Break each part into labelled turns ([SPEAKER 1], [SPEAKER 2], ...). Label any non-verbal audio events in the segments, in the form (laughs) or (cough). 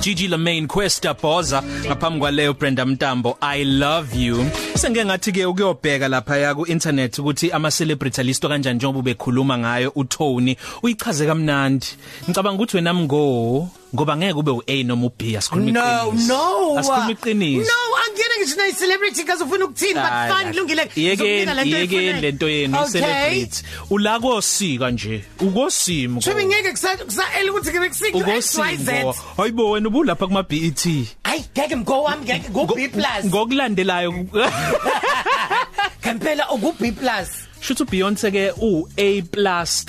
[SPEAKER 1] Gigi Lamaine Questa Boza ngaphambi kwaleyo Brenda Mtambo I love you senge ngathi ke ukuyobheka lapha ya ku internet ukuthi ama celebrity listo kanjani njengoba bekhuluma ngayo uThony uyichaze kamnandi ngicabanga ukuthi wena mngo ngoba ngeke ube uA noma uB asikhulumi
[SPEAKER 2] No,
[SPEAKER 1] iqiniso
[SPEAKER 2] no.
[SPEAKER 1] asikhulumi iqiniso
[SPEAKER 2] No, angeke ngisho na celebrity because ufuna ukuthini but fine kulungile.
[SPEAKER 1] yeke
[SPEAKER 2] Ngizokunika
[SPEAKER 1] yeke
[SPEAKER 2] oyifunayo.
[SPEAKER 1] lento yenu
[SPEAKER 2] Okay.
[SPEAKER 1] celebrity ula kosika nje ukosimo
[SPEAKER 2] Shumi ngeke kusa kusa elukuthi ngeke kusike
[SPEAKER 1] ukosimo hayibo wena ubulapha E kuma BET
[SPEAKER 2] Ay, ngeke mgo wami ngeke ku B+. (laughs)
[SPEAKER 1] ngokulandelayo
[SPEAKER 2] Ah, Kempela uku oh, B+.
[SPEAKER 1] shuthu Beyonce ke u A+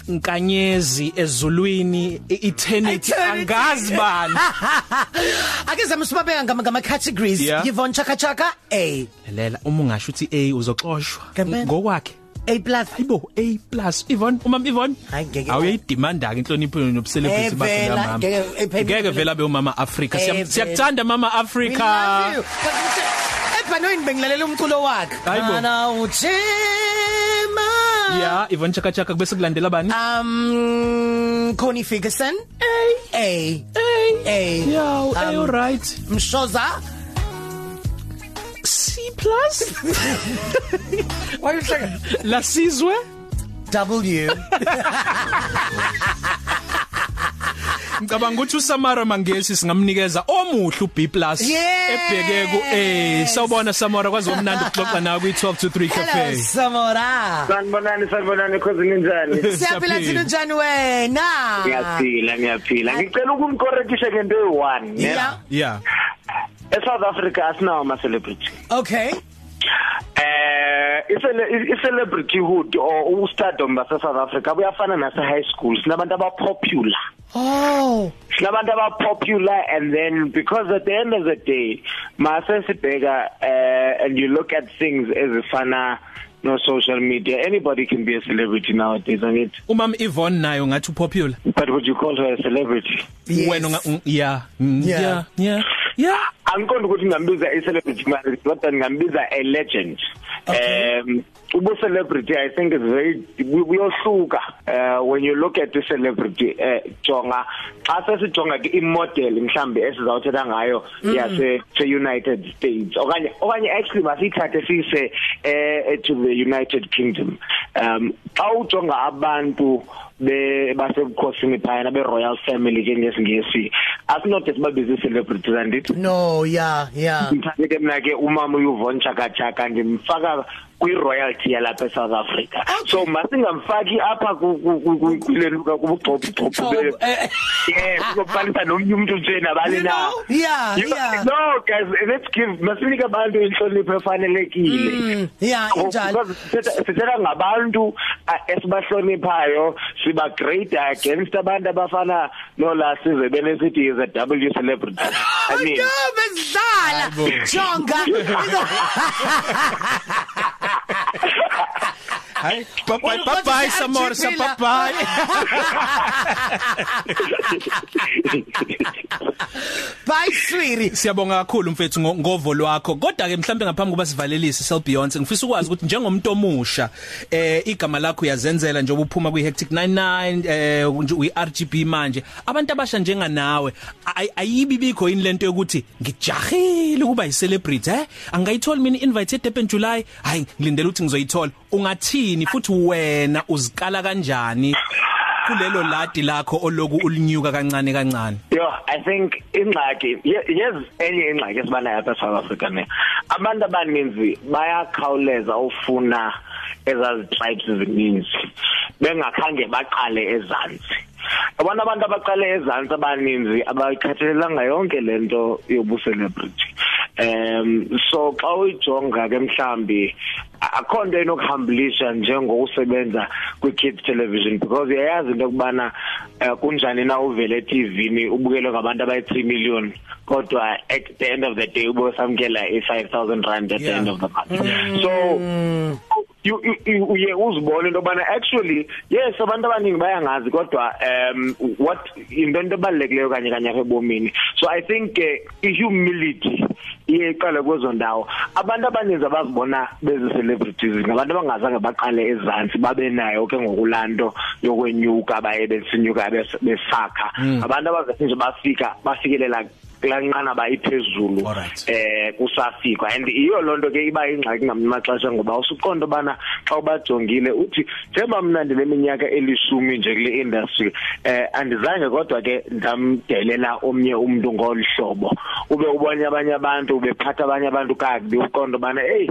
[SPEAKER 1] nkanyezi ezulwini i- eternity
[SPEAKER 2] Eternity.
[SPEAKER 1] angazi bani
[SPEAKER 2] Ake zama sibabeka ngama ngama categories.
[SPEAKER 1] Yeah.
[SPEAKER 2] Yvonne Chaka Chaka A.
[SPEAKER 1] lela uma ungasho uthi A uzoxoshwa
[SPEAKER 2] Ngempela.
[SPEAKER 1] ngokwakhe
[SPEAKER 2] A+. plus.
[SPEAKER 1] hayibo A+ Yvonne umam Yvonne
[SPEAKER 2] Hayi, ngeke-
[SPEAKER 1] awuyidimanda ke inhlonipho nobuselebrity
[SPEAKER 2] Eh,
[SPEAKER 1] bakhe
[SPEAKER 2] vela,
[SPEAKER 1] mama
[SPEAKER 2] ngeke- eh, phela-
[SPEAKER 1] ngeke vela be umama Africa Siyam-
[SPEAKER 2] Eh, vela.
[SPEAKER 1] siyakuthanda mama
[SPEAKER 2] We
[SPEAKER 1] Africa
[SPEAKER 2] love you. Ebhanoyini bengilalela umculo wakhe.
[SPEAKER 1] Hayibo.
[SPEAKER 2] Ana uchema.
[SPEAKER 1] ya Yvonne Chaka Chaka bese kulandela bani
[SPEAKER 2] Ah. Um Connie Ferguson. A. A. A.
[SPEAKER 1] yeah
[SPEAKER 2] Um,
[SPEAKER 1] all right
[SPEAKER 2] Mshoza.
[SPEAKER 1] C+
[SPEAKER 2] (laughs)
[SPEAKER 1] plus?
[SPEAKER 2] Why you saying
[SPEAKER 1] la sizwe
[SPEAKER 2] (laughs) W?
[SPEAKER 1] Ngicabanga ukuthi uSamara Mangesi singamnikeza omuhle uB+
[SPEAKER 2] Yes!
[SPEAKER 1] ebheke ku A. Sawubona Samara kwazi umnandi ukuxoxa nawe kwi 12 to 3
[SPEAKER 2] Hello
[SPEAKER 1] cafe.
[SPEAKER 2] Samora.
[SPEAKER 3] Sanibonani sanibonani cousin ninjani?
[SPEAKER 2] Siyaphila thina njani wena?
[SPEAKER 3] Ngiyaphila ngiyaphila. Ngicela ukumcorrectisha ngento eyi1,
[SPEAKER 2] Yeah.
[SPEAKER 3] ne?
[SPEAKER 1] Yeah.
[SPEAKER 3] ESouth Africa asinawo ama celebrity.
[SPEAKER 2] Okay.
[SPEAKER 3] Eh isele celebrityhood or ustardom base South Africa buyafana nase high school. Sinabantu abapopular.
[SPEAKER 2] Oh.
[SPEAKER 3] Sinabantu abapopular and then because at the end of the day, mase sibheka eh and you look at things ezifana no social media. Anybody can be a celebrity nowadays, I mean.
[SPEAKER 1] Umam Yvonne nayo ngathi upopular.
[SPEAKER 3] But would you call her a celebrity?
[SPEAKER 2] Yes.
[SPEAKER 1] Wena unga- un- yeah. mm,
[SPEAKER 2] Yeah.
[SPEAKER 1] Yeah. Yeah. Yeah.
[SPEAKER 3] angiqondi ukuthi ngambiza i-celebrity manje kodwa ngambiza a legend
[SPEAKER 2] Okay.
[SPEAKER 3] um ubu celebrity i think is very we- uyohluka uh, when you look at the celebrity ah, eh, jonga xa sesijonga ke imodel mhlambi esizawuthetha ngayo yase se United States okanye okanye actually masithathe sise eh to the United Kingdom um xa ujonga abantu be basebukhosini phayana be royal family ke ngesingesi asinothi sibabize celebrities andithi
[SPEAKER 2] No, yeah,
[SPEAKER 3] (laughs)
[SPEAKER 2] yeah.
[SPEAKER 3] ngithandeke mina ke umama uyuvon chakachaka ngimfaka kwi-royalty yalapha e-south africa so masingamfaki apha ku- ku- ku- ku- kuleluka kubugxobhugxobhu
[SPEAKER 2] Ugxobhu, eh.
[SPEAKER 3] yes uzokubalisa nomnye umntu nje nabani
[SPEAKER 2] You
[SPEAKER 3] na
[SPEAKER 2] know? Yeah,
[SPEAKER 3] You-
[SPEAKER 2] yeah.
[SPEAKER 3] no guys let's give masinike abantu inhlonipho efanelekile
[SPEAKER 2] Mm, yeah, injalo.
[SPEAKER 3] Oh, Because sithetha sithetha ngabantu ah, esibahloniphayo siba great against abantu abafana nolasize benesithi is a w celebrity
[SPEAKER 2] (laughs)
[SPEAKER 3] i mean
[SPEAKER 2] Oh, No, bezidlala. (laughs) Jonga.
[SPEAKER 1] Hi. Bye bye
[SPEAKER 2] Well,
[SPEAKER 1] bye
[SPEAKER 2] what
[SPEAKER 1] bye
[SPEAKER 2] is that,
[SPEAKER 1] Samora
[SPEAKER 2] Jimilla?
[SPEAKER 1] bye bye.
[SPEAKER 2] (laughs) Bye sweetie.
[SPEAKER 1] Siyabonga kakhulu mfethu ngo- ngovo lwakho. Kodwa ke mhlambe ngaphambi kuba sivalelise sel Beyonce ngifisa ukwazi ukuthi njengomuntu omusha eh igama lakho uyazenzela njengoba uphuma kwi Hectic 99 eh uyi RGB manje. Abantu abasha njenga nawe ay- ayibi bikho yini lento yokuthi ngijahile ukuba yi celebrity eh angayithola mina invite e Durban July hayi ngilindele ukuthi ngizoyithola. Ungathini futhi wena uzikala kanjani kulelo ladi lakho oloku ulinyuka kancane kancane.
[SPEAKER 3] Yo, I think ingxaki ye- yes enye ingxaki esibanayo apha eSouth Africa ne. Abantu abaninzi bayakhawuleza ufuna ezazi tribes ezininzi bengakhange baqale ezantsi. Abantu abantu abaqale ezantsi abaninzi abayikhathalelanga yonke lento yobu celebrity. Um so xa uyijonga ke mhlambi a- akho nto enokuhambulisha njengokusebenza kwi-kids television because uyayazi into yokubana eh, kunjani na uvele etivini ubukelwe ngabantu abayi-3 million kodwa at the end of the day ube samkela i-5 thousand rand at the
[SPEAKER 1] Yeah.
[SPEAKER 3] end of the month so you- you- you- uye uzibone into yobana actually yes abantu abaningi bayangazi kodwa um what yinto into ebalulekileyo kanye kanye apha ebomini so i think uh, i-humility iye iqale kwezo ndawo abantu abaninzi abazibona bezi-celebrities ngabantu abangazange baqale ezantsi babe nayo ke ngokulaa nto yokwenyuka baye besinyuka bes- besakha abantu abazase nje bafika bafikelela kulanqana bayiphezulu
[SPEAKER 1] Alright.
[SPEAKER 3] eh kusafika and iyo lonto ke iba ingxaki ngamaxesha ngoba usuqonda bana xa ubajongile uthi njengoba mna ndineminyaka elishumi nje kule industry eh andizange kodwa ke ndamdelela omnye umuntu ngolu hlobo ube ubonye abanye abantu ubephatha abanye abantu kakubi uqonda bana hey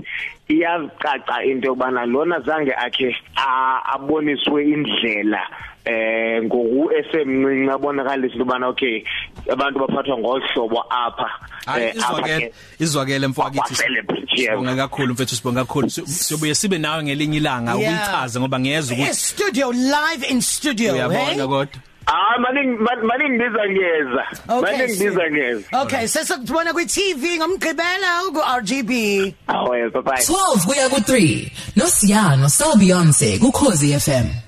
[SPEAKER 3] iyacaca into yokubana lona zange akhe a- aboniswe indlela eh ngoku esemncinci abonakalisa into yobana okay abantu baphathwa ngohlobo Eh, apha
[SPEAKER 1] Hayi
[SPEAKER 2] Eh,
[SPEAKER 1] izwakele izwakele mfowethu
[SPEAKER 3] Kwa-celebrity, yebo.
[SPEAKER 1] sibonga kakhulu mfethu sibonga kakhulu Si- siyobuye sibe nawe ngelinye ilanga
[SPEAKER 2] Yeah.
[SPEAKER 1] uyichaze ngoba ngiyeza ukuthi
[SPEAKER 2] studio live in studio hey?
[SPEAKER 1] uyabona kodwa
[SPEAKER 3] hayi maning- Ah, ma- maningibiza ngeza maningibiza ngeza
[SPEAKER 2] si- Okay, sesokubona kwi TV ngomgqibelo ku RGB.
[SPEAKER 3] awe bye bye
[SPEAKER 4] 12 kuya ku 3 noSiyano Selbeyonce ku Khosi FM